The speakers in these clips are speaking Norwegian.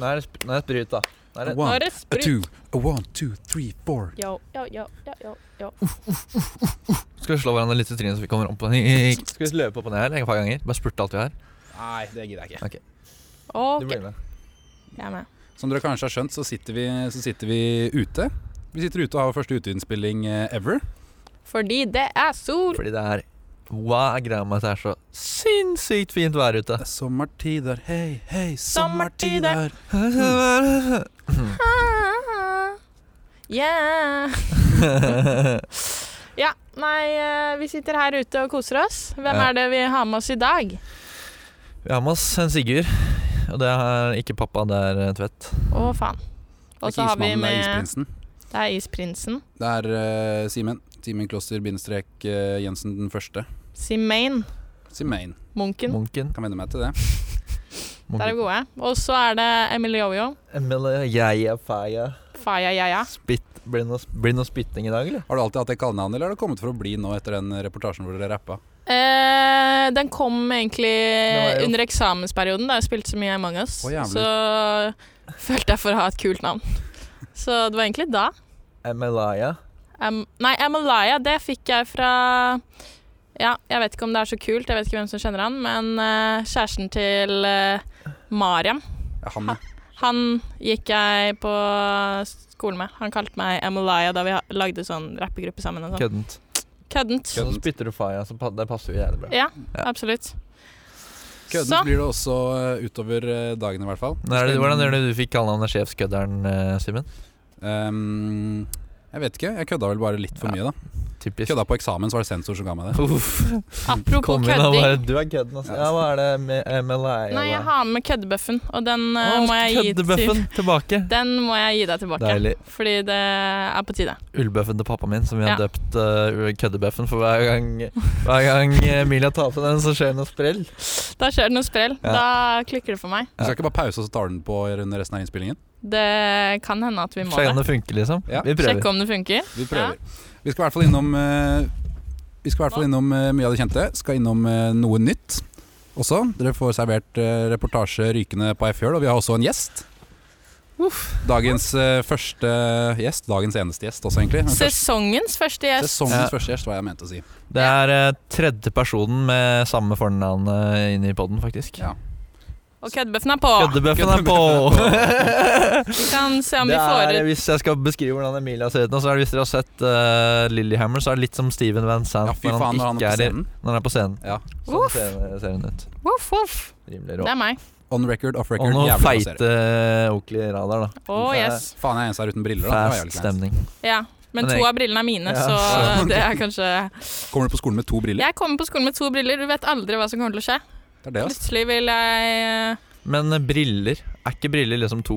Nå er det, sp nå er det sprut, da. Nå er det, Wow. Nå er det A two, sprut. a one, two, three, four. Yo, yo, yo, yo, yo, yo. skal vi slå hverandre litt i trynet så vi kommer om på den? Skal vi løpe opp og ned her et par ganger? Bare spurte alt vi har. Nei, det gidder jeg ikke. Du Ok, blir med. jeg er med. Som dere kanskje har skjønt, så sitter vi, så sitter vi ute. Vi sitter ute og har vår første uteinnspilling eh, ever. Fordi det er sol. Fordi det er Hva er greia med at det er så sinnssykt fint vær ute? Det er sommertider, hei, hei, Sommertider. sommertider. Ah, Yeah. ja, nei, eh, vi sitter her ute og koser oss. Hvem Ja. er det vi har med oss i dag? Vi har med oss en Sigurd. Og det er ikke pappa, det er eh, Tvedt. Å, faen. Og så har vi Ismannen, Det er med isprinsen. Det er Isprinsen. Det er eh, Simen. Simen Kloster, bindestrek eh, Jensen den første. Simain. Simein. Munken. Munken. Kan vende meg til det. Der er Munken. vi gode. Og så er det Emily Jojo. Emilie, jeg er feia. Faya Yaya. Spitt, blir, det noe, blir det noe spytting i dag, eller? Har du alltid hatt det kallenavnet, eller har det kommet for å bli nå etter den reportasjen hvor dere rappa? Eh, den kom var egentlig jo- under eksamensperioden, da jeg spilte så mye Among us. Å, jævlig. så følte jeg for å ha et kult navn. Så det var egentlig da. Emilia. Am- nei, Amalaya, det fikk jeg fra Ja, jeg vet ikke om det er så kult, jeg vet ikke hvem som kjenner han, men eh, kjæresten til eh, Mariam, Ja, han, han gikk jeg på skolen med. Han kalte meg Amalaya da vi ha- lagde sånn rappegruppe sammen og sånn. Køddent. Køddent. Så spytter du feia, så pa- det passer jo jævlig bra. Ja, absolutt. Køddent Så. blir det også eh, utover eh, dagen, i hvert fall. Nå er det, hvordan er det du fikk kallenavnet sjefskødderen, eh, Simen? Ehm, jeg vet ikke. Jeg kødda vel bare litt for Ja. mye, da. Typisk. Kødda på eksamen, så var det sensor som ga meg det. Uff. Apropos Kom inn og bare kødding. Du er kødden, altså. Ja, hva er det med Emilia? Nei, jeg har med køddebøffen, og den eh, Å, må jeg gi til Køddebøffen tilbake. Den må jeg gi deg tilbake. Deilig. Fordi det er på tide. Ullbøffen til pappa min, som vi har Ja. døpt eh, Køddebøffen. For hver gang, hver gang eh, Emilia tar på den, så skjer det noe sprell. Da skjer det noe sprell. Ja. Da klikker det for meg. Du skal ikke bare pause, og så tar du den på under resten av innspillingen? Det kan hende at vi må Sjekke om det. det funker, liksom. Ja. Vi prøver. Sjekke om det funker. Vi prøver. Vi skal i hvert fall innom eh, Vi skal i hvert fall innom eh, mye av det kjente. Skal innom eh, noe nytt også. Dere får servert eh, reportasje rykende på ei fjøl, og vi har også en gjest. Dagens eh, første gjest. Dagens eneste gjest også, egentlig. Men først- Sesongens første gjest. Sesongens Ja. første gjest, var jeg mente å si. Det er eh, tredje personen med samme fornavn eh, inne i poden, faktisk. Ja. Og køddebøffen er på. Køddebøffen er på! Vi kan se om vi Det får er, ut hvis jeg skal beskrive hvordan Emilia ser ut nå, så er det hvis dere har sett eh, Lillehammer, så er det litt som Steven Van Sant Ja, fy når faen, han når han er ikke er, på i- scenen. når han er på scenen. Ja. Sånn Uff. ser, ser hun ut. Voff, voff. Rimelig Det rå. er meg. On record, off Og record, noe jævlig bra serie. feite Oakley-radar, da. Å, Det er yes. Faen, jeg er eneste her uten briller, da. Det var Fast jævlig kleint. stemning. Ja. Men Men to jeg- av brillene er mine, Ja. så det er kanskje Kommer du på skolen med to briller? Jeg kommer på skolen med to briller. Du vet aldri hva som kommer til å skje. Det er det, ass. Plutselig vil jeg Men eh, briller Er ikke briller liksom to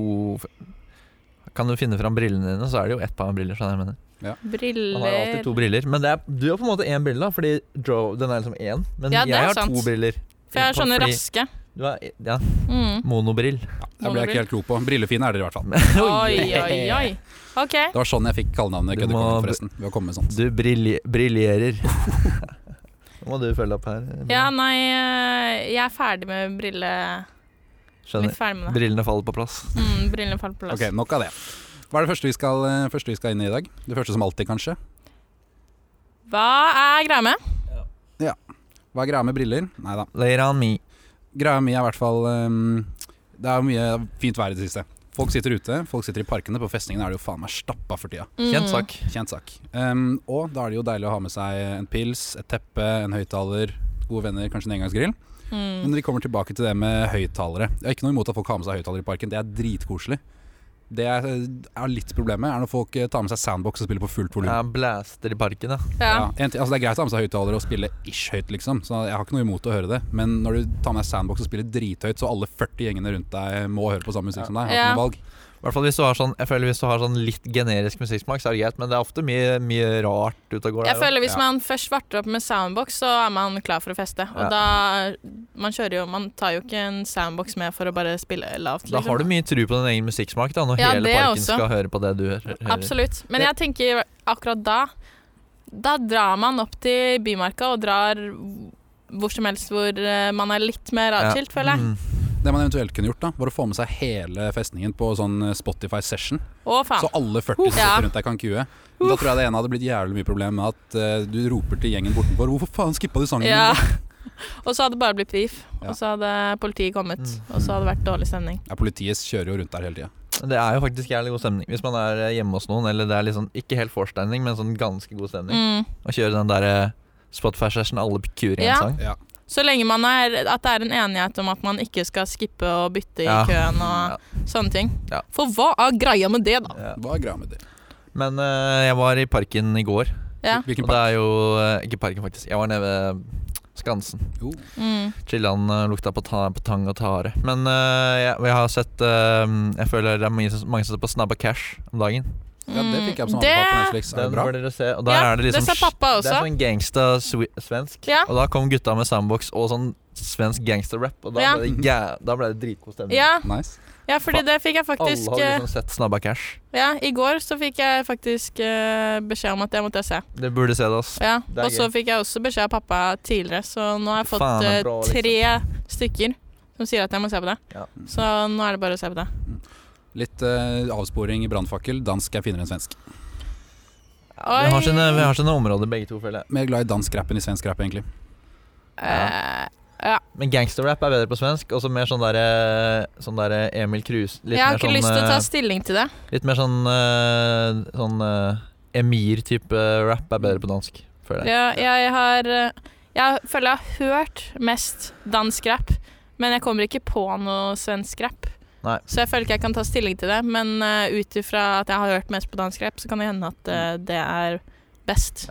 Kan du finne fram brillene dine, så er det jo ett par med briller. Sånn jeg mener. Man har jo alltid Briller to briller. Men det er, du har på en måte én brille, da, fordi Joe, den er liksom én. Men Ja, det er jeg har sant. to briller. For jeg er sånne Fordi raske. Du er, ja, Mm. monobrill. Det ble jeg ikke helt klok på. Brillefine er dere i hvert fall. Oi, oi, oi. OK. Det var sånn jeg fikk kallenavnet Du må- Køddekongen, forresten. Ved å komme med sånt. Du brilje- briljerer. Nå må du følge opp her. Ja, nei, eh, jeg er ferdig med brille... Litt Skjønner. ferdig med det. Brillene faller på plass. Mm, brillene faller på plass. Ok, nok av det. Hva er det første vi skal, eh, første vi skal inn i i dag? Det første som alltid, kanskje. Hva er greia med? Hva er greia med briller? Nei da. Later on me. Greia mi er i hvert fall ehm, Det er jo mye fint vær i det siste. Folk sitter ute, folk sitter i parkene. På festningene er det jo faen meg stappa for tida. Mm. Kjent sak. Kjent sak. Ehm, og da er det jo deilig å ha med seg en pils, et teppe, en høyttaler, gode venner, kanskje en engangsgrill. Mm. Men vi kommer tilbake til det med høyttalere. Jeg har ikke noe imot at folk har med seg høyttalere i parken, det er dritkoselig. Det jeg har litt problemet, er når folk eh, tar med seg soundbox og spiller på fullt volum. Ja, blaster i parken, da. Ja. Ja. en ting- altså det er greit å ha med seg høyttalere og spille ish høyt, liksom. Så jeg har ikke noe imot å høre det. Men når du tar med deg Sandbox og spiller drithøyt, så alle 40 gjengene rundt deg må høre på samme musikk som deg. Jeg Har ikke noe valg. I hvert fall hvis du har sånn Jeg føler hvis du har sånn litt generisk musikksmak, så er det greit, men det er ofte mye, mye rart ute og går Jeg der. føler Hvis Ja. man først varter opp med soundbox, så er man klar for å feste. Og Ja. da Man kjører jo Man tar jo ikke en soundbox med for å bare spille også. lavt. Da har du mye tro på din egen musikksmak, da, når liksom- Ja, hele det parken også. skal høre på det du hører. Absolutt. Men jeg tenker akkurat da Da drar man opp til Bymarka og drar hvor som helst hvor eh, man er litt mer Ja. atskilt, føler jeg. Mm. Det man eventuelt kunne gjort, da var å få med seg hele festningen på sånn Spotify-session. Å, Så faen. alle 40 som Ah. Ja. sitter rundt deg kan kue. Men da tror jeg det ene hadde blitt jævlig mye problem med at eh, du roper til gjengen bortenfor 'Hvorfor faen skippa du sangen?' Ja. din, da?» Og så hadde det bare blitt beef. Ja. Og så hadde politiet kommet. Mm. Og så hadde det vært dårlig stemning. Ja, Politiet kjører jo rundt der hele tida. Det er jo faktisk jævlig god stemning hvis man er eh, hjemme hos noen, eller det er liksom ikke helt vorstanding, men sånn ganske god stemning. Mm. Å kjøre den derre Spotify-session alle kuer i en Ja. sang. Så lenge man er, at det er en enighet om at man ikke skal skippe og bytte i Ja. køen og sånne ting. Ja. For hva er greia med det, da? Ja. Hva er greia med det? Men eh, jeg var i parken i går, Ja. Hvilken og det er jo eh, Ikke parken, faktisk. Jeg var nede ved Skansen. park? Jo. Mm. Chilla'n eh, lukta på, ta på tang og tare. Men eh, jeg, jeg har sett eh, Jeg føler det er mange, som- mange som ser på Snabba Cash om dagen. Ja, det fikk jeg Mm, som det- anbefaling på Netflix. Er det Den bra? bør dere se. Og der Ja, er det liksom det sa pappa Det er også. sånn gangsta swi- svensk. Ja. Og da kom gutta med soundbox og sånn svensk gangsterrap, og da Ja. ble det, jæ- da ble det dritgod stemning. Ja, Nice. ja, fordi det fikk jeg faktisk Alle har eh, liksom sett Snabba Cash. Ja, i går så fikk jeg faktisk eh, beskjed om at det måtte jeg se. Det burde se det, ass. Ja. Det er Og så fikk jeg også beskjed av pappa tidligere, så nå har jeg fått Faen, det er eh, bra, liksom. tre stykker som sier at jeg må se på det. Ja. Så nå er det bare å se på det. Litt eh, avsporing i brannfakkel. Dansk er finere enn svensk. Ja, vi, Oi. har sine, vi har sine områder, begge to, føler jeg. Mer glad i dansk rap enn i svensk rap, egentlig. Ja. Eh, ja. Men gangsterrap er bedre på svensk. Og så mer sånn derre sånn der Emil Kruse. Litt, Jeg har mer ikke sånn, lyst til å ta eh, stilling til det. litt mer sånn eh, Sånn eh, Emir-type rap er bedre på dansk, føler jeg. Jeg, jeg har eh, Jeg føler jeg har hørt mest dansk rap, men jeg kommer ikke på noe svensk rap. Nei. Så jeg føler ikke jeg kan ta stilling til det, men uh, ut ifra at jeg har hørt mest på dansk rap, så kan det hende at eh, Mm. det er best.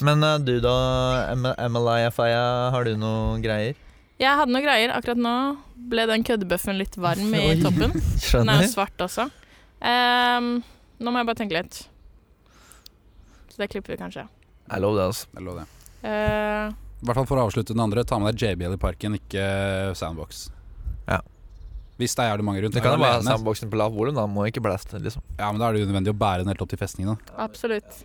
Men eh, du da, Emilaya Faya, har du noe greier? Jeg hadde noen greier. Akkurat nå ble den køddebøffen litt varm i Oi. toppen. Den er Skjønner? jo svart også. Ehm, nå må jeg bare tenke litt. Så det klipper vi kanskje. Jeg lover det, altså. Det lå det. Eh, I hvert fall for å avslutte den andre, ta med deg JBL i parken, ikke Soundbox. Ja. Hvis det er jævlig mange rundt. Det kan er jo du være alene, soundboxen på lavt volum, da. Må ikke blaste, liksom. Ja, men da er det unødvendig å bære den helt opp til festningen. Da. absolutt.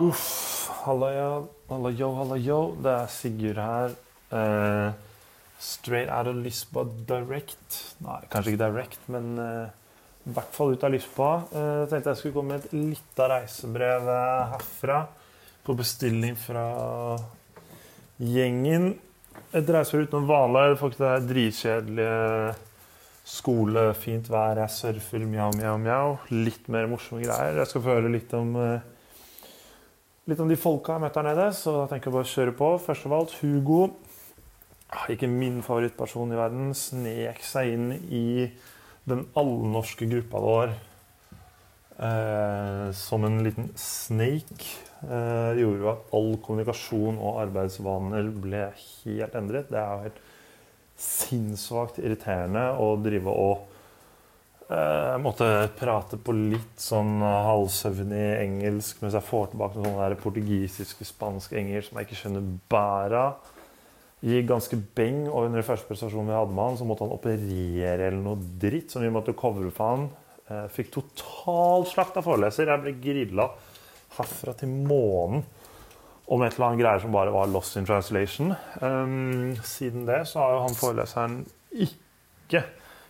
Uff, halla ja, halla yo, halla yo. Det er Sigurd her. Eh, straight out of Lisboa direct. Nei, kanskje ikke direct, men eh, i hvert fall ut av Lisboa. Eh, tenkte jeg skulle komme med et lite reisebrev eh, herfra. På bestilling fra gjengen. Et reisebrev utenom vanlig. Folk, det er dritkjedelige skole, fint vær, jeg surfer, mjau, mjau, mjau. Litt mer morsomme greier. Jeg skal få høre litt om eh, litt om de folka jeg møtte her nede, så da tenker jeg bare å kjøre på. Først av alt Hugo. Ah, Ikke min favorittperson i verden. Snek seg inn i den allnorske gruppa vår eh, som en liten snake. Eh, gjorde jo at all kommunikasjon og arbeidsvaner ble helt endret. Det er jo helt sinnssvakt irriterende å drive og Eh, Jeg måtte prate på litt sånn halvsøvnig engelsk mens jeg får tilbake noen sånne der portugisiske, spanske engelsk som jeg ikke skjønner bæret av. Gikk ganske beng, og under den første prestasjonen vi hadde med han, så måtte han operere eller noe dritt som vi måtte covre for han. Eh, Fikk total slakt av foreleser. Jeg ble grilla herfra til månen om et eller annet greier som bare var lost in translation. Um, siden det så har jo han foreleseren ikke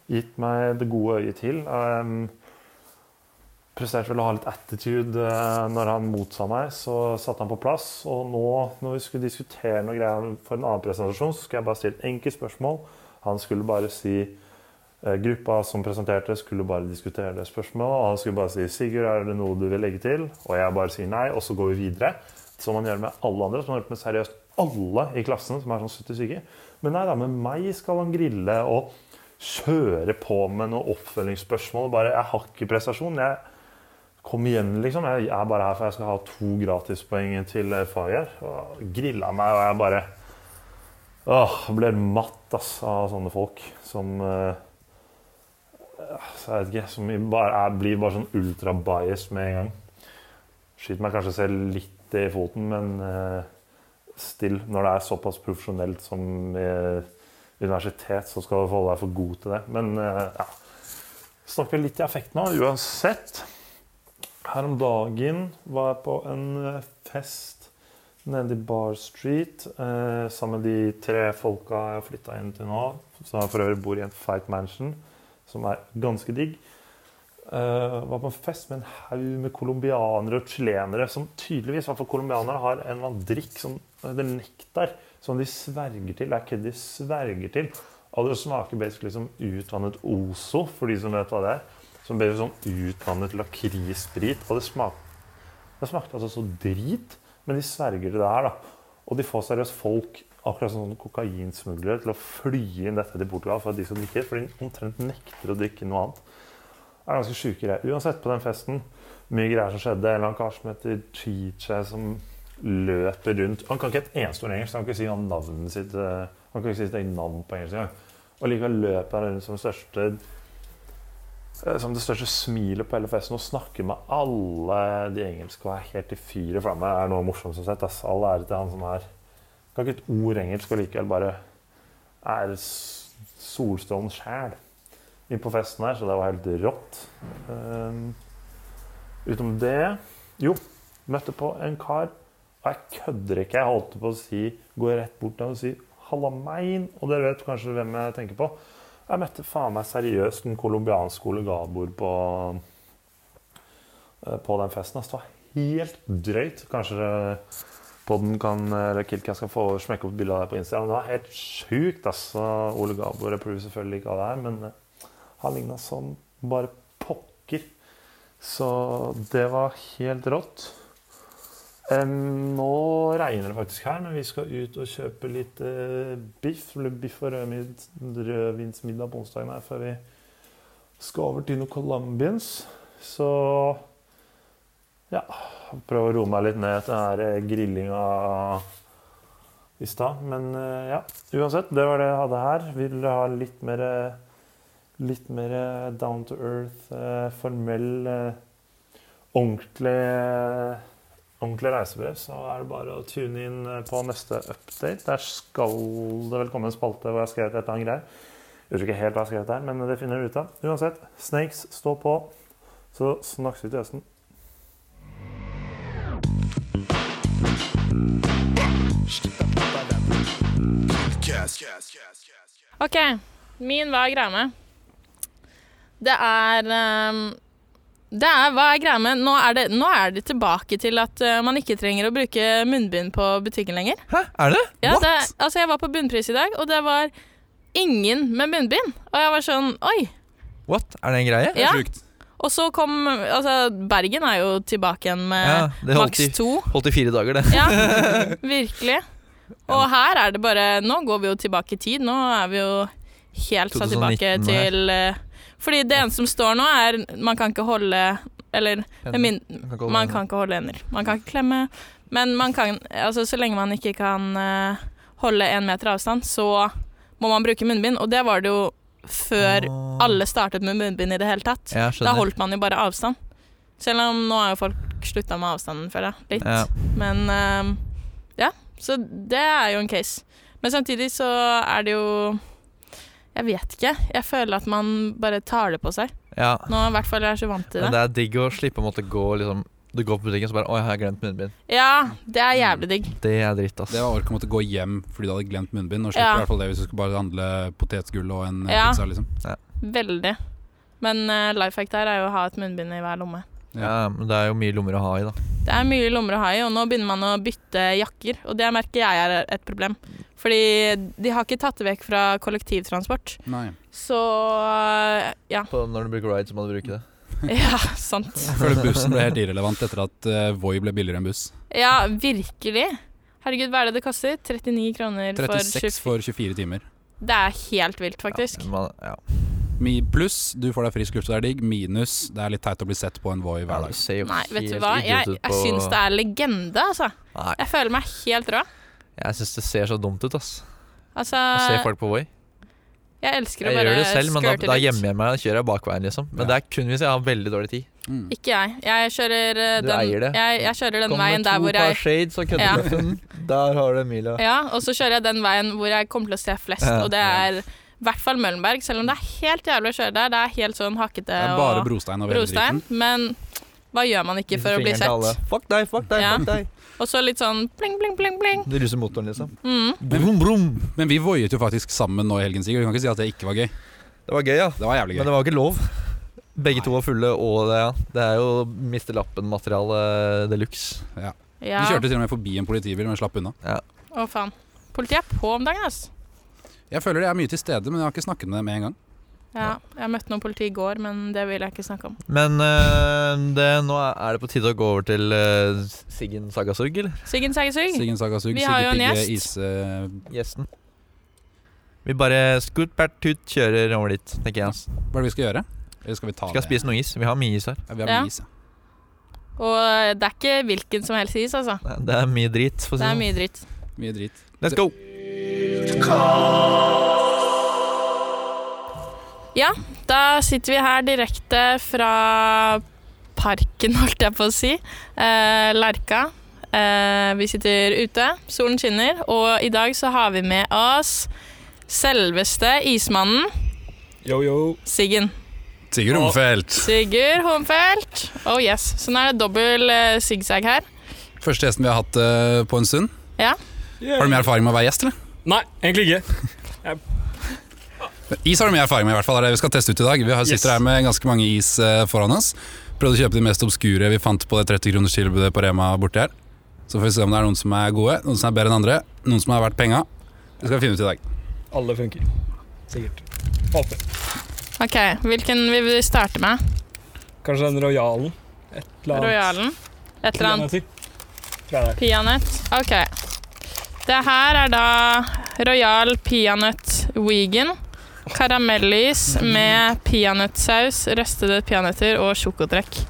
gitt meg det gode øyet til. Um, presterte vel å ha litt attitude eh, når han motsa meg, så satte han på plass. Og nå, når vi skulle diskutere noe greier for en annen presentasjon, så skulle jeg bare stille et enkelt spørsmål. Han skulle bare si eh, Gruppa som presenterte, skulle bare diskutere det spørsmålet. Og han skulle bare si 'Sigurd, er det noe du vil legge til?' Og jeg bare sier nei, og så går vi videre. Som man gjør med alle andre, som man har gjort med seriøst alle i klassen, som er sånn 70 stykker. Men nei da, med meg skal han grille og kjøre på med noen oppfølgingsspørsmål. Bare, jeg har ikke prestasjon. Jeg kom igjen, liksom. Jeg er bare her for jeg skal ha to gratispoeng til eh, faget. her. Og grilla meg, og jeg bare Åh, jeg ble matt ass, av sånne folk som eh, så Jeg vet ikke. Som i bare, jeg blir bare sånn ultra-biased med en gang. Skyter meg kanskje selv litt i foten, men eh, still, når det er såpass profesjonelt som eh, universitet, så skal du holde deg for god til det. Men eh, ja. Snakker litt i affekt nå, uansett. Her om dagen var jeg på en eh, fest nede i Bar Street eh, sammen med de tre folka jeg har flytta inn til nå, som jeg for øvrig bor i en feit mansion, som er ganske digg. Eh, var på en fest med en haug med colombianere og chilenere som tydeligvis, i hvert fall colombianere, har en eller annen drikk som heter nektar, som de sverger til. Det er ikke de sverger til. Og det smaker basically som utvannet Ozo, for de som vet hva det er. Som ble sånn utvannet lakrissprit. Og det, smak, det smakte altså så drit. Men de sverger til det her, da. Og de får seriøst folk, akkurat som sånn kokainsmuglere, til å fly inn dette til Portugal for at de skal drikke. For de omtrent nekter å drikke noe annet. Det er ganske sjuke greier. Uansett, på den festen, mye greier som skjedde. En eller annen kar som heter Chiche, som løper rundt Han kan ikke et eneste ord engelsk. så Han kan ikke si han navnet sitt eh, Han kan ikke si sitt eget navn på engelsk engang. Og likevel løper han rundt som den største eh, som det største smilet på hele festen og snakker med alle de engelske og er helt i fyret flamme. Det er noe morsomt som sett. ass. All ære til han som er Kan ikke et ord engelsk og likevel bare er s- solstrålen sjæl inn på festen her, så det var helt rått. Ehm, utenom det Jo, møtte på en kar, og jeg kødder ikke. Jeg holdt på å si Gå rett bort til ham og si 'halla mein', og dere vet kanskje hvem jeg tenker på. Jeg møtte faen meg seriøst en colombiansk kollegabord på, eh, på den festen. ass. Det var helt drøyt. Kanskje podden kan, eller Kilka skal få smekke opp bilde av det på Instagram. Det var helt sjukt, altså. ass. Og Ole Gabor approver selvfølgelig ikke av det her, men eh, han ligna som bare pokker. Så det var helt rått. Em, nå regner det faktisk her, men vi skal ut og kjøpe litt eh, biff. Eller biff og rødmid, rødvinsmiddag på onsdagen her før vi skal over til noe colombians. Så ja Prøve å roe meg litt ned etter den her grillinga i stad. Men eh, ja, uansett. Det var det jeg hadde her. Vil dere ha litt mer eh, litt mer eh, down to earth, eh, formell, eh, ordentlig, eh, ordentlig reisebrev, så er det bare å tune inn eh, på neste update. Der skal det vel komme en spalte hvor jeg har skrevet et eller annet greier. Jeg vet ikke helt hva jeg har skrevet der, men det finner dere ut av. Uansett, Snakes, stå på, så snakkes vi til høsten. OK. Min hva er greia med? Det er ehm, Det er hva er greia med? Nå er, det, nå er det tilbake til at eh, man ikke trenger å bruke munnbind på butikken lenger. Hæ, er det? Ja, det, altså jeg var på Bunnpris i dag, og det var ingen med munnbind. Og jeg var sånn Oi! What? Er det en greie? Ja. Sjukt. Og så kom Altså, Bergen er jo tilbake igjen med Ja, det holdt maks i- to. Holdt i fire dager, det. Ja, virkelig. Og her er det bare Nå går vi jo tilbake i tid. Nå er vi jo helt 2019 satt tilbake her. til eh, Fordi det eneste som står nå, er man kan ikke holde Eller med min, Man kan man kan ikke holde hender. Man kan ikke klemme. Men man kan Altså, så lenge man ikke kan eh, holde én meter avstand, så må man bruke munnbind. Og det var det jo før Åh. alle startet med munnbind i det hele tatt. Ja, Da skjønner. holdt man jo bare avstand. Selv om nå har jo folk slutta med avstanden, føler jeg. Litt. Ja. Men ehm, ja, så det er jo en case. Men samtidig så er det jo Jeg vet ikke. Jeg føler at man bare tar det på seg. ja. Nå i hvert fall er jeg så vant til Men det. det er digg å slippe å måtte gå liksom Du går på butikken så bare 'Å, jeg har glemt munnbind'. Ja, det er jævlig digg. Det er dritt, ass. Det var ork å måtte gå hjem fordi du hadde glemt munnbind. Og slipper Ja. i hvert fall det hvis du skal bare handle potetgull og en eh, Ja. pizza, liksom. Veldig. Men uh, life hack der er jo å ha et munnbind i hver lomme. Ja, men det er jo mye lommer å ha i, da. Det er mye lommer å ha i, og nå begynner man å bytte jakker. Og det merker jeg er et problem. Fordi de har ikke tatt det vekk fra kollektivtransport. Nei. Så ja. På, når du bruker ride, så må du bruke det. Ja, sant. Jeg føler bussen ble helt irrelevant etter at eh, Voi ble billigere enn buss. Ja, virkelig. Herregud, hva er det det koster? 39 kroner for 36 24 for 24 timer. Det er helt vilt, faktisk. Man, ja. Mi pluss du får deg frisk luft, så det er digg. Minus det er litt teit å bli sett på en Voi hver ja, du dag. ser jo Nei, vet du helt hva? idiot Jeg, ut jeg på- syns det er legende, altså. Nei, Jeg føler meg helt rå. jeg syns det ser så dumt ut, ass. Altså, Å se folk på Voi. jeg elsker å Jeg bare gjør det selv, men da, skørte da litt. gjemmer jeg meg og kjører jeg bakveien, liksom. Men det er kun hvis jeg har veldig dårlig tid. Mm. Ikke jeg. Jeg kjører eh, Du den, eier det. Jeg, jeg kjører den Kom med to veien der hvor par jeg shades og Ja. køddedøffen. Der har du Emilia. Ja, og så kjører jeg den veien hvor jeg kommer til å se flest, Ja. og det er i hvert fall Møllenberg, selv om det er helt jævlig å kjøre der. Det er helt sånn hakkete Det er bare brostein og brostein, velbedriften. men Hva gjør man ikke for å bli sett? Fuck deg, fuck deg, Ja. fuck deg. Og så litt sånn pling, pling, pling, pling. Det ruser motoren, liksom. Mm. Brum, brum. Men vi voiet jo faktisk sammen nå i helgen, Sigurd. Du kan ikke si at det ikke var gøy. Det var gøy, ja. Det var jævlig Men gøy. det var jo ikke lov. Begge to var fulle, og det, ja. det er jo miste lappen-materiale eh, de luxe. Vi Ja. kjørte til og med forbi en politibil, men slapp unna. Å, faen. Politiet er på om dagen, ass. Jeg føler de er mye til stede, men jeg har ikke snakket med dem med en gang. Ja, jeg møtte noen politi i går, men det vil jeg ikke snakke om. Men eh, det, nå er det på tide å gå over til eh, Siggen Sagasurg, eller? Siggen Sagesug. Siggen Sagasug, Vi har jo en Sigge gjest. Pigge, eh, Ise Gjesten. Vi bare scoot-bert-tut kjører over dit, tenker jeg. ass. Hva er det vi skal gjøre? Eller skal vi ta Vi skal det? spise noe is. Vi har mye is her. Ja, vi har Ja. mye is, ja. Og eh, det er ikke hvilken som helst is, altså. Nei, Det er mye drit. For å si Det er det sånn. mye dritt. Mye drit. Let's go! Da sitter vi her direkte fra parken, holdt jeg på å si. Eh, Lerka. Eh, vi sitter ute, solen skinner, og i dag så har vi med oss selveste ismannen Yo, yo. Siggen. Sigurd Romfeldt. Sigurd Homfeldt. Oh yes. Så nå er det dobbel eh, zigzag her. Første gjesten vi har hatt eh, på en stund. Ja. Har du mye erfaring med å være gjest, eller? Nei, egentlig ikke. Is har du mye erfaring med, i hvert fall. Det er det vi skal teste ut i dag. Vi har- sitter Yes. her med ganske mange is eh, foran oss. Prøvde å kjøpe de mest obskure vi fant på det 30-kronerstilbudet på Rema borti her. Så får vi se om det er noen som er gode, noen som er bedre enn andre, noen som er verdt penga. Det skal vi finne ut i dag. Alle funker. Sikkert. Håper. Ok, hvilken vil vi starte med? Kanskje den rojalen. Et eller annet. Royalen? Et eller annet Peanøtter. Tror jeg det er. peanøtt? Ok. Det her er da Royal peanøtt vegan. Karamellis med peanøttsaus, røstede peanøtter og sjokotrekk.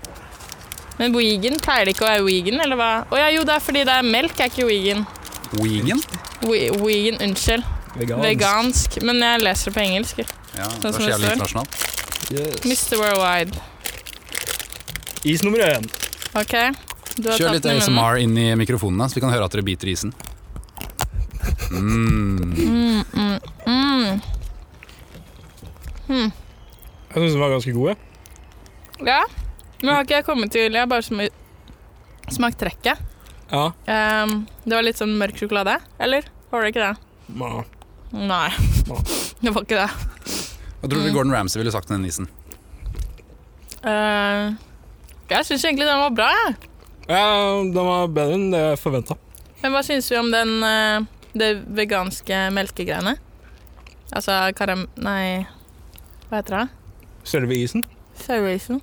Men vegan pleier det ikke å være vegan, eller hva? Å ja, jo, det er fordi det er melk, er ikke vegan. Wigan. We vegan, unnskyld. Vegansk. Vegansk. Men jeg leser det på engelsk. Ja, det er Sånn som så det jævlig står. internasjonalt. Yes. Mr. Worldwide. Is nummer én. Ok. Du har Kjør tatt litt den i munnen. ASMR inn i mikrofonene, så vi kan høre at dere biter i isen. Mm. Mm, mm, mm. Jeg syns den var ganske god. jeg. Ja, nå har ikke jeg kommet til Jeg har bare sm smakt trekket. Ja. Ehm, det var litt sånn mørk sjokolade, eller? Var det ikke det? Må- Nei, det var ikke det. Hva tror du Gordon Ramsay ville sagt om den isen? Ehm, jeg syns egentlig den var bra, jeg. Ja, den var bedre enn det jeg forventa. Men hva syns vi om den eh, det veganske melkegreiene? Altså karam... Nei, hva heter det? Selve isen Sauerisen?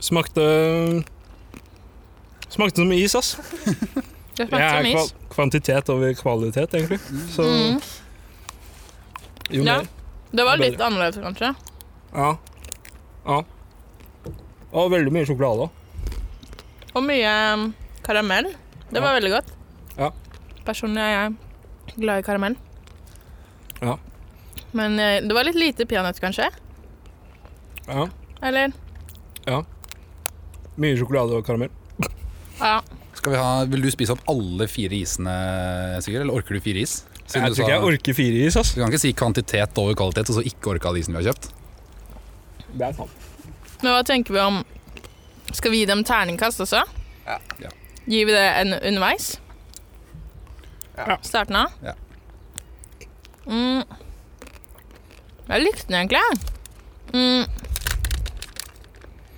smakte Smakte som is, ass. Det Jeg smakte er som is. kva- kvantitet over kvalitet, egentlig. Så Mm. jo Ja. mer. Det var Bedre. litt annerledes, kanskje. Ja. Ja. Og veldig mye sjokolade òg. Og mye ehm, karamell. Det var veldig godt. Ja. Personlig er jeg glad i karamell. Ja. Men eh, det var litt lite peanøtt, kanskje? Ja. Eller? Mye sjokolade og karamell. Ja. Skal vi ha, vil du spise opp alle fire isene, Sigurd? Eller orker du fire is? Siden du Jeg tror ikke sa- jeg orker fire is, ass. Du kan ikke si kvantitet over kvalitet, og så ikke orke alle isene vi har kjøpt. Det er sant. Men hva tenker vi om Skal vi gi dem terningkast også? Ja. Gir vi det en underveis? Ja. Starten av? Ja. Mm. Jeg likte den egentlig. jeg. Mm.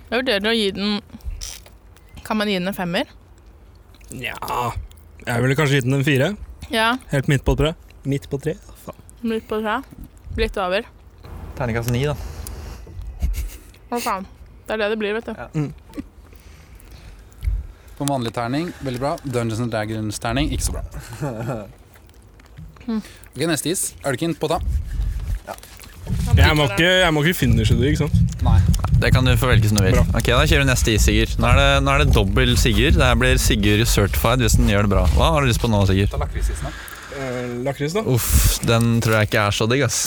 Jeg vurderer å gi den Kan man gi den en femmer? Nja Jeg ville kanskje gitt den en fire. Ja. Helt midt på tre. Midt på tre? Litt på tre. Litt over. Terningkast ni, da. Å faen. Det er det det blir, vet du. På vanlig terning, veldig bra. Dungeons and Dragons terning, ikke så bra. Ok, Neste is. Ølken på ta. Jeg må ikke, jeg må ikke finishe det, ikke sant? Nei. Det kan du få velge som du vil. Bra. Ok, Da kjører vi neste is, Sigurd. Nå er det, nå er det dobbel Sigurd. Det her blir Sigurd certified hvis den gjør det bra. Hva har du lyst på nå, Sigurd? Ta lakrisisen, da. Eh, Lakris, da? Uff, den tror jeg ikke er så digg, ass.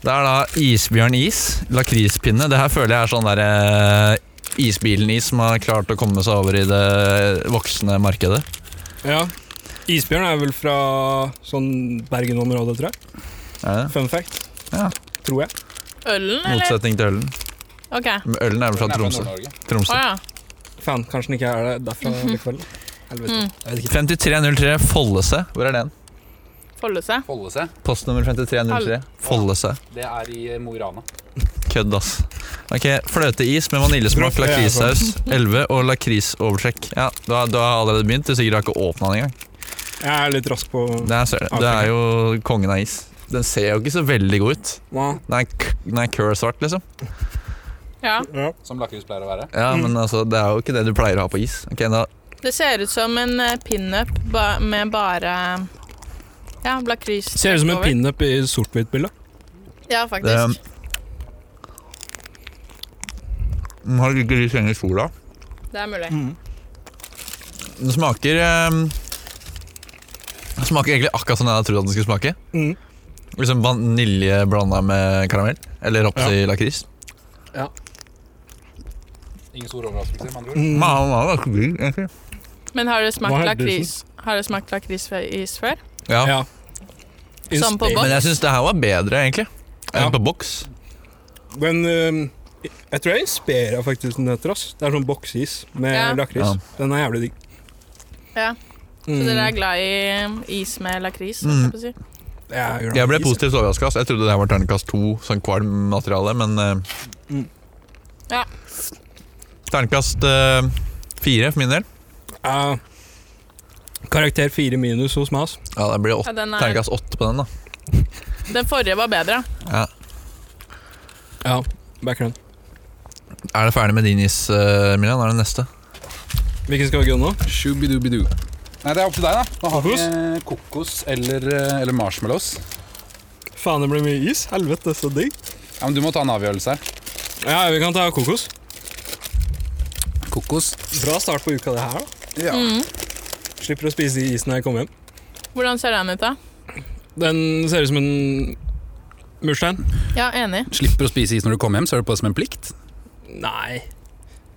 Det er da isbjørnis, lakrispinne. Det her føler jeg er sånn der eh, isbilen-is som har klart å komme seg over i det voksne markedet. Ja. Isbjørn er vel fra sånn Bergen-området, tror jeg. Er det? Fun fact. Ja. Tror jeg. Ølen, eller? Motsetning til ølen. OK. Å Men Ølen er vel fra Tromsø. Tromsø. ja. Faen, kanskje den ikke er det derfra likevel. Helvete. Mm. Jeg vet ikke. 5303 Follese. Hvor er den? Folde seg. Follese. Postnummer 5303 Follese. Det er i eh, Mo i Rana. Kødd, ass. Ok, Fløteis med vaniljesmak, Bra, det er lakrissaus, 11 og lakrisovertrekk. Ja, du har, du har allerede begynt. Du sikkert har ikke åpna den engang. Jeg er litt rask på Der ser du. Du er jo kongen av is. Den ser jo ikke så veldig god ut. Hva? Den er, k- den er kørsvart, liksom. Ja. Ja. Som lakris pleier å være. Ja, Mm. men altså, det er jo ikke det du pleier å ha på is. Ok, da Det ser ut som en eh, pinup ba med bare Ja, lakris. Ser ut som en over. pinup i sort-hvitt-bildet. Ja, faktisk. Den har ikke lys lenger i sola. Det, er mulig. Den smaker ehm, Den smaker egentlig akkurat som jeg hadde trodd at den skulle smake. Mm. Liksom vanilje blanda med karamell. Eller Ropsi lakris. Ingen stor overraskelse, med andre ord. Mm. Ma- ma- ganske digg, egentlig. Men har du Hva smakt er det lakris? Har du smakt lakrisis før? Ja. Ja. Som på Inspir- boks? Men jeg syns det her var bedre, egentlig. Enn Ja. på boks. Men øhm, jeg tror jeg inspirerer faktisk den heter. Ass. Det er sånn boksis med Ja. lakris. Ja. Den er jævlig digg. Ja. Så Mm, dere er glad i eh, is med lakris? holdt Mm. jeg på å si. jeg gjør det. Jeg ble positivt overraska. Jeg trodde det her var terningkast to, sånn kvalm materiale, men uh, Ja. Terningkast eh, fire for min del. Ja. karakter fire minus hos meg. ass. Ja, det blir Ja, åtte, den, er, terningkast åtte på den, da. den forrige var bedre. Ja. Ja, backer den. Er det ferdig med din is, eh, Milan? Er det neste? Hvilken skal vi gå nå? Shubidubidu. Nei, det er opp til deg, da. Nå har Kokos? vi eh, kokos eller, eh, eller marshmallows. Faen, det blir mye is. Helvete, så digg. Ja, men Du må ta en avgjørelse her. Ja, vi kan ta kokos. Kokos. Bra start på uka, det her. da. Ja. Mm. Slipper å spise isen når jeg kommer hjem. Hvordan ser den ut, da? Den ser ut som en murstein. Ja, enig. Slipper å spise is når du kommer hjem, ser du på det som en plikt. Nei.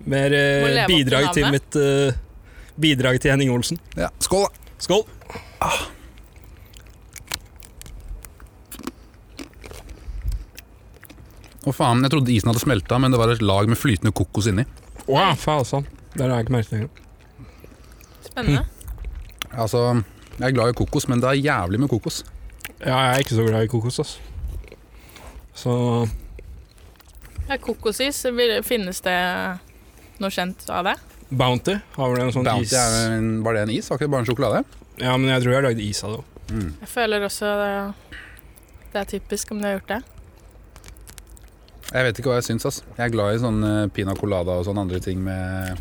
Mer Må leve eh, opp til bidrag til navnet. mitt eh, Bidrag til Henning Olsen. Ja. Skål, da. Skål. Å faen, Jeg trodde isen hadde smelta, men det var et lag med flytende kokos inni. Wow, faen, sånn. Der har jeg ikke merket det engang. Mm. Spennende. Altså, Jeg er glad i kokos, men det er jævlig med kokos. Ja, jeg er ikke så glad i kokos, ass. Så Ja, kokosis, vil- finnes det noe kjent av det? Bounty har vel en sånn Bounty er is en, Var det en is? Var ikke det bare en sjokolade? Ja, men jeg tror jeg lagde is av det òg. Jeg føler også det, det er typisk om du har gjort det. Jeg vet ikke hva jeg syns. ass. Jeg er glad i sånn eh, pina colada og sånne andre ting med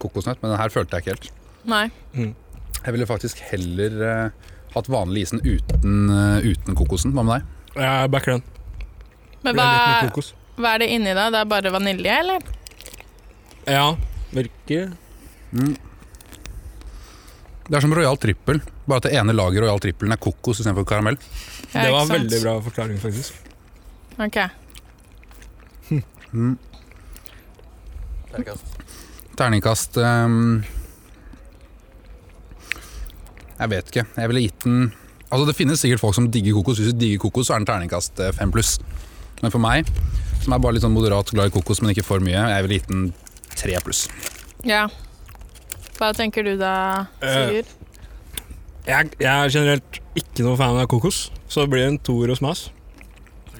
kokosnøtt, men den her følte jeg ikke helt. Nei. Jeg ville faktisk heller eh, hatt vanlig isen uten, eh, uten kokosen. Hva med deg? Jeg backer den. Men Ble litt mye hva, kokos. hva er det inni da? Det er bare vanilje, eller? Ja, virker Mm. Det er som Royal Trippel, bare at det ene laget i Royal Trippelen er kokos istedenfor karamell. Ja, Det ikke var en sant? veldig bra forklaring, faktisk. Ok. Terningkast ehm, Jeg vet ikke. Jeg ville gitt den Altså Det finnes sikkert folk som digger kokos. Hvis du digger kokos, så er den terningkast eh, fem pluss. Men for meg, som er bare litt sånn moderat glad i kokos, men ikke for mye, jeg ville gitt den tre pluss. Ja. Hva tenker du da, Sigurd? Jeg, jeg er generelt ikke noe fan av kokos, så det blir en toer hos meg.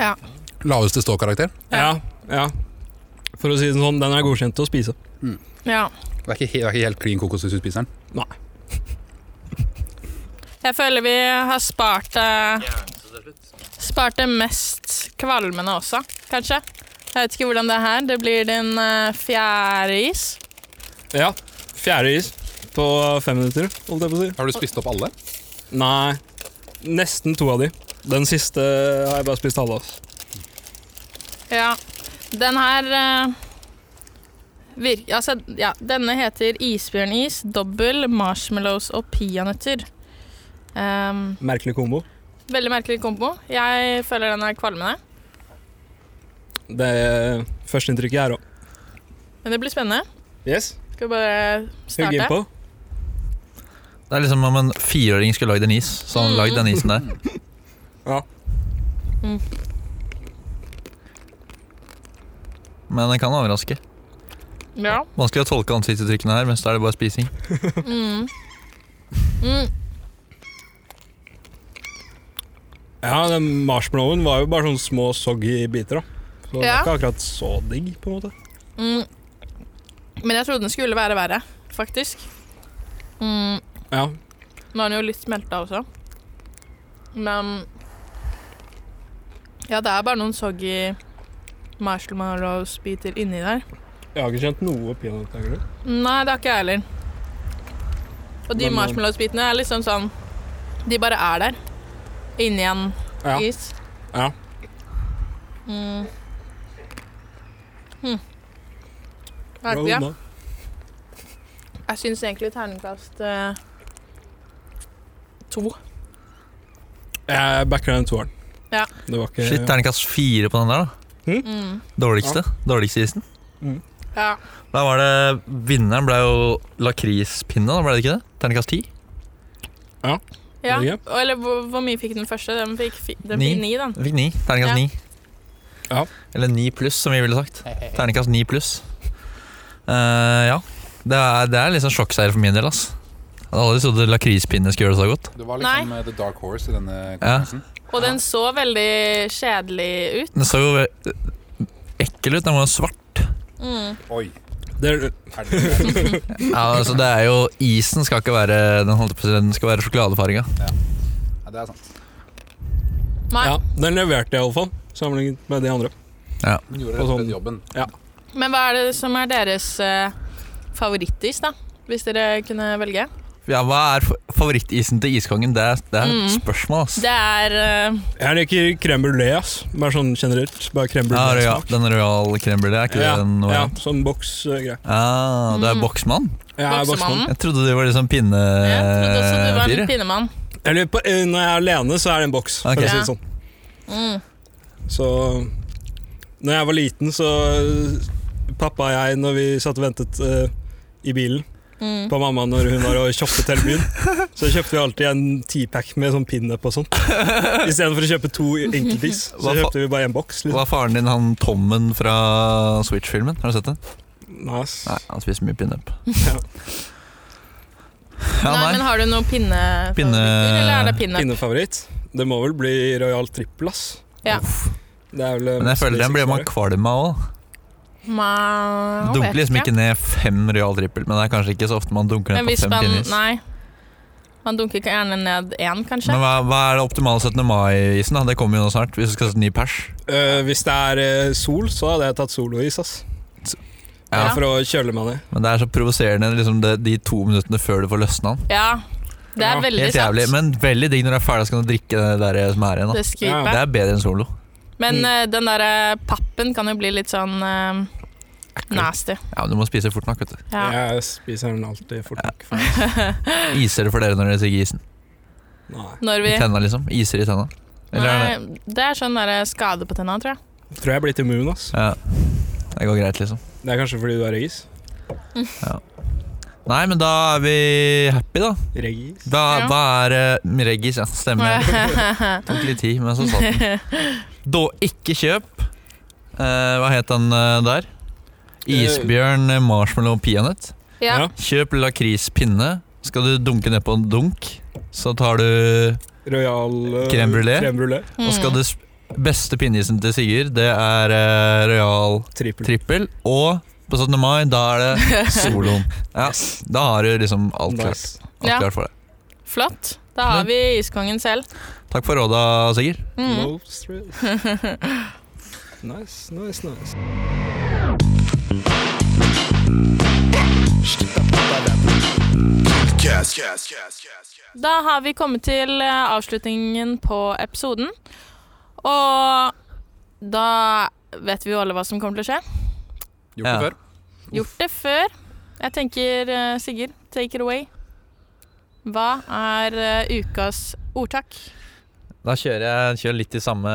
ass. Laveste ståkarakter. Ja. Ja. ja. For å si det sånn, den er godkjent til å spise. Ja. Det er ikke, he- det er ikke helt klin kokos hvis du spiser den. Jeg føler vi har spart eh, Spart det mest kvalmende også, kanskje. Jeg vet ikke hvordan det er her. Det blir din eh, fjerde is. Ja. Fjerde is på fem minutter, holdt jeg på å si. Har du spist opp alle? Nei. Nesten to av de. Den siste har jeg bare spist halve av. Ja. Den her eh, vir altså, ja, Denne heter isbjørnis, dobbel, marshmallows og peanøtter. Ehm, Merkelig kombo. veldig merkelig kombo. Jeg føler den er kvalmende. Det førsteinntrykket er òg. Men det blir spennende. Yes. Skal vi bare Hugg starte? innpå. Det er liksom om en fireåring skulle lagd en is. Så han lagd den isen der. Mm. Ja. men den kan overraske. Ja. Vanskelig å tolke ansiktsuttrykkene her, mens da er det bare spising. Mm. Mm. Ja, den marshmallowen var jo bare sånne små soggy biter, da. Så det Ja. var ikke akkurat så digg, på en måte. Mm. Men jeg trodde den skulle være verre, faktisk. Mm. Ja. Nå er den jo litt smelta også. Men Ja, det er bare noen soggy marshmallows-biter inni der. Jeg har ikke kjent noe peanøtt, egentlig. Nei, det har ikke jeg heller. Og de Men, eh, marshmallows-bitene er liksom sånn De bare er der. Inni en Ja. is. Ja. Mm. Hm. Bra Verkelig. ja. unna. Jeg syns egentlig terningkast eh, to. Jeg backer den toeren. Ja. Det var ikke Shit, terningkast fire på den der, da. Mm. Dårligste. Dårligste isen. Ja. Da var det Vinneren ble jo lakrispinne, da ble det ikke det? Terningkast ti? ja. Norge? Og- Eller hvor, hvor mye fikk den første? Den fikk, fi, den Ni. fikk ni, den. Vi fikk ni. Terningkast Ja. ni. Ja. Eller ni pluss, som vi ville sagt. Terningkast ni pluss. Eh, ja. Det er, det er liksom sjokkseier for min del, ass. Jeg hadde aldri trodd lakrispinne skulle gjøre det så godt. Det var liksom eh, the dark horse i denne konkurransen. Og den så veldig kjedelig ut. Den så jo eh, ekkel ut. Den var jo svart. Mm. Oi. Det er, Helvete. Ja, altså det er jo Isen skal ikke være Den, holdt jeg på, å si, den skal være sjokoladefarga. Ja, det er sant. Nei. ja, den leverte jeg iallfall, sammenlignet med de andre. Hun gjorde Og rett og sånn. slett jobben. Men hva er det som er deres eh, favorittis, da? Hvis dere kunne velge. Ja, hva er fa- favorittisen til iskongen? Det, er- det er et Mm. spørsmål, ass. Det er eh, Jeg liker crème brulé, ass. Bare sånn generelt. Bare crème Ja, brulé ja, den royale crème brulée, er ikke det en ja, variant? sånn boksgreie. Ah, du er Eh, Mm. boksmann? Jeg er boksmann. Boksemannen. Jeg trodde du var liksom Jeg trodde også du pinnefyr. var en jeg. pinnemann. Eller på, eh, når jeg er alene, så er det en boks, Ok. for å si Ja. det sånn. Mm. Så når jeg var liten, så eh, Pappa og jeg, når vi satt og ventet eh, i bilen Mm. på mamma når hun var og shoppet hele byen, så kjøpte vi alltid en teapack med sånn pinnep og sånn. Istedenfor å kjøpe to enkeltis, så Hva fa- kjøpte vi bare en boks. Hva Liksom. er faren din, han Tommen fra Switch-filmen? Har du sett den? Nei, ass. Nei, han spiser mye pinup. Ja. Ja, nei. men nei. har du noe pinne... Pinne- Eller er det pinne? Pinnefavoritt? Det må vel bli Royal Trippel, ass. Ja. Det er vel eh, Men jeg føler den blir man kvalm av òg. Man Dunker liksom ikke ned fem Royal Trippel, men det er kanskje ikke så ofte man dunker Men ned på hvis fem man pinneis. Nei. Man dunker ikke gjerne ned én, kanskje. Men hva, hva er det optimale 17. mai-isen? da? Det kommer jo nå snart, hvis du skal sette ny pers. Eh, hvis det er eh, sol, så hadde jeg tatt solois. ass. Ja. Bare For å kjøle meg ned. Men det er så provoserende liksom det, de to minuttene før du får løsna den. Ja. Det er Ja, veldig Helt jævlig, sant. men veldig digg når du er ferdig, så kan du drikke det der som er igjen. Det Da. skvipet. Ja, Det er bedre enn solo. Men Mm. eh, den derre pappen kan jo bli litt sånn eh, nasty. Ja, men Du må spise fort nok. vet du Ja. Jeg spiser den alltid fort nok. Iser det for dere når dere sigger isen? Nei. Når vi I tenna, liksom? Iser i tenna? Eller er det Nei, det er sånn derre skade på tenna, tror jeg. Jeg tror jeg er blitt immun. ass. Ja. Det går greit, liksom. Det er kanskje fordi du er regis. Nei, men da er vi happy, da. Regis? Da, Ja. da er uh, Regis, ja. Stemmer. Tok litt tid, men så satt den. Da ikke kjøp. Eh, hva het den eh, der? Isbjørn, eh, marshmallow, peanøtt. ja. Ja. Kjøp lakrispinne. Skal du dunke ned på en dunk, så tar du Royal eh, Crème brûlée? crème brûlée. Mm. Og skal du sp- Beste pinneisen til Sigurd, det er eh, Royal Trippel. trippel. Og på 17. mai, da er det soloen. Ja, da har du liksom alt klart, Nice. alt Ja. klart for deg. Mm. Flott. Da har vi iskongen selv. Takk for råda, Sigurd. Mm. No stress. nice, nice, nice. Da har vi kommet til eh, avslutningen på episoden. Og da vet vi jo alle hva som kommer til å skje. Gjort Ja. det før. Gjort det før. Jeg tenker, eh, Sigurd, take it away. Hva er eh, ukas ordtak? Da kjører jeg kjører litt i samme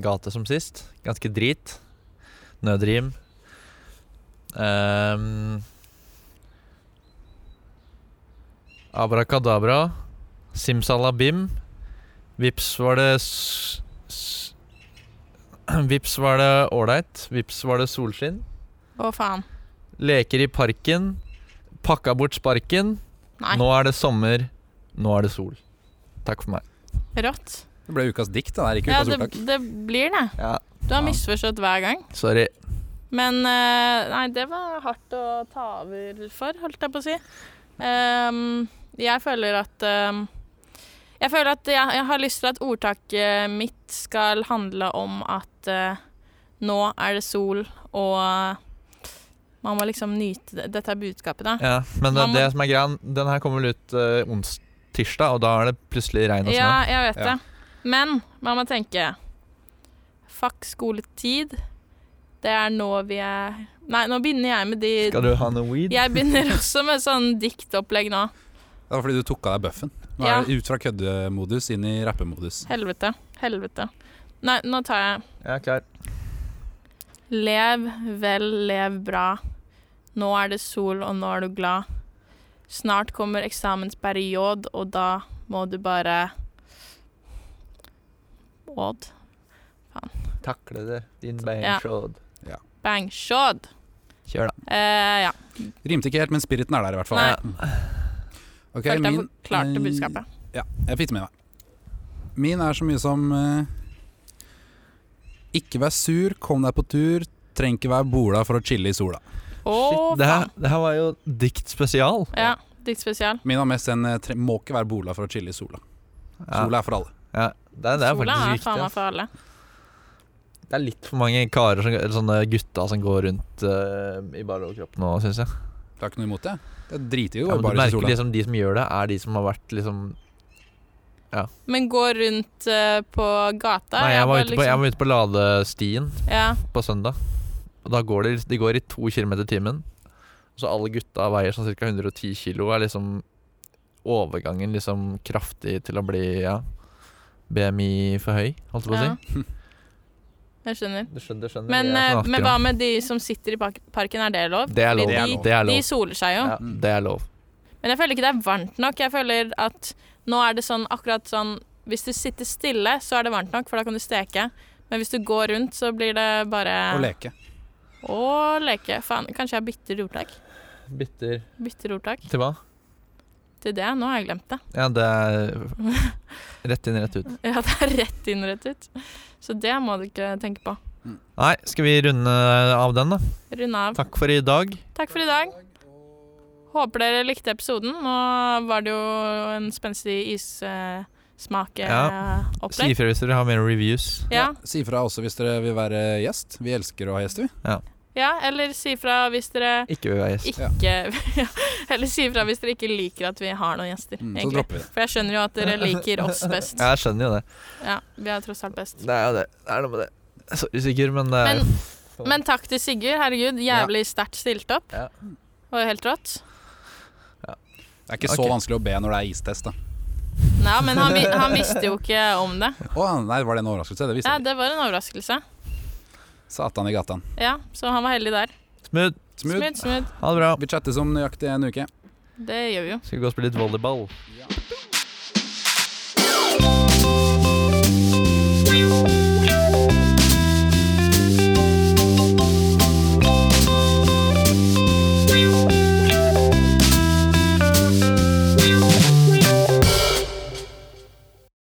gate som sist. Ganske drit. Nødrim. Ehm, Abrakadabra. Simsalabim. Vips var det s s Vips var det ålreit. Vips var det solskinn. Å, faen. Leker i parken. Pakka bort sparken. Nei. Nå er det sommer. Nå er det sol. Takk for meg. Rått. Det ble ukas dikt, da. Det er ikke Ja, ukas det, ordtak. det blir det. Ja, Du har Ja. misforstått hver gang. sorry. Men eh, nei, det var hardt å ta over for, holdt jeg på å si. Ehm, jeg føler at ehm, Jeg føler at jeg, jeg har lyst til at ordtaket mitt skal handle om at eh, nå er det sol, og eh, man må liksom nyte det. Dette er budskapet, da. Ja, men det, Man må- det som er greia, den her kommer vel ut uh, ons tirsdag, og da er det plutselig regn og snø. Ja, jeg vet Ja. det. Men man må tenke Fuck skoletid. Det er nå vi er Nei, nå begynner jeg med de Skal du ha noe weed? Jeg begynner også med sånn diktopplegg nå. Det var fordi du tok av deg bøffen. Nå Ja. er det ut fra køddemodus inn i rappemodus. Helvete. Helvete. Nei, nå tar jeg Jeg er klar. Lev vel, lev bra. Nå er det sol, og nå er du glad. Snart kommer eksamensperiod, og da må du bare Odd. Takle det, din Ja. beinshod. Bang, shod. Kjør, da. Eh, ja. Rimte ikke helt, men spiriten er der i hvert fall. Nei. Ok, Følte jeg min- eh, forklarte budskapet. Mm. Ja, jeg fikk det med meg. Min er så mye som eh, Ikke vær sur, kom deg på tur, treng ikke være bola for å chille i sola. Å, Shit, det her, faen. det her var jo dikt spesial. Ja. Ditt spesial. Min var mest en eh, tre, må ikke være bola for å chille i sola. Ja, Sola er for alle. ja. Det, er, det er Sola faktisk er faen viktig. meg for alle. ass. Det er litt for mange karer, som, eller sånne gutta som går rundt eh, i bare overkropp nå, syns jeg. Det er ikke noe imot det. Det driter jo Ja, men du bare i merker sola. liksom de som gjør det, er de som har vært liksom Men gå rundt eh, på gata Nei, jeg bare liksom- var ute på, jeg var ute på ladestien ja. på søndag. Og da går de, de går i to kilometer i timen. Så alle gutta veier sånn ca. 110 kilo. Er liksom overgangen liksom kraftig til å bli ja, BMI for høy, holdt jeg på å si. Ja. Jeg skjønner. Du skjønner, du skjønner Men, det jeg eh, snakker men om. hva med de som sitter i park- parken, er det lov? Sånn Det er lov. Fordi Det er de, lov. Det er lov. De soler seg jo. Ja, det er lov. Men jeg føler ikke det er varmt nok. Jeg føler at nå er det sånn akkurat sånn Hvis du sitter stille, så er det varmt nok, for da kan du steke. Men hvis du går rundt, så blir det bare Å leke. Å leke. Faen, kanskje jeg bytter ordtak? Bytter Bytter ordtak til hva? til det. Nå har jeg glemt det. Ja, det er rett inn, rett ut. Ja, det er rett inn, rett ut. Så det må du ikke tenke på. Nei, skal vi runde av den, da? Runde av. Takk for i dag. Takk for i dag. Håper dere likte episoden. Nå var det jo en spenstig Ja. Si issmakeopplegg. ifra hvis dere har mer reviews. Ja. Si fra også hvis dere vil være gjest. Vi elsker å ha gjest, vi. ja, eller si fra hvis dere Ikke vil være gjest. ikke Eller si fra hvis dere ikke liker at vi har noen gjester, Mm, så egentlig. dropper vi det. For jeg skjønner jo at dere liker oss best. Ja, jeg skjønner jo det. Ja, vi er tross alt best. Det er jo det. Det er noe med det. Jeg er så usikker, men det er Men, men takk til Sigurd. Herregud, jævlig sterkt stilt opp. Ja. Det var jo helt rått. Det er ikke så Ok. vanskelig å be når det er istest, da. Nei, men han, vi- han visste jo ikke om det. Å nei, var det en overraskelse? Det visste Ja, jeg. det var en overraskelse. ikke. Satan i gatan. Ja, så han var heldig der. smooth. Smooth. Smooth, smooth. Ha det bra. Vi chattes om nøyaktig en uke. Det gjør vi jo. Skal vi gå og spille litt volleyball? Ja.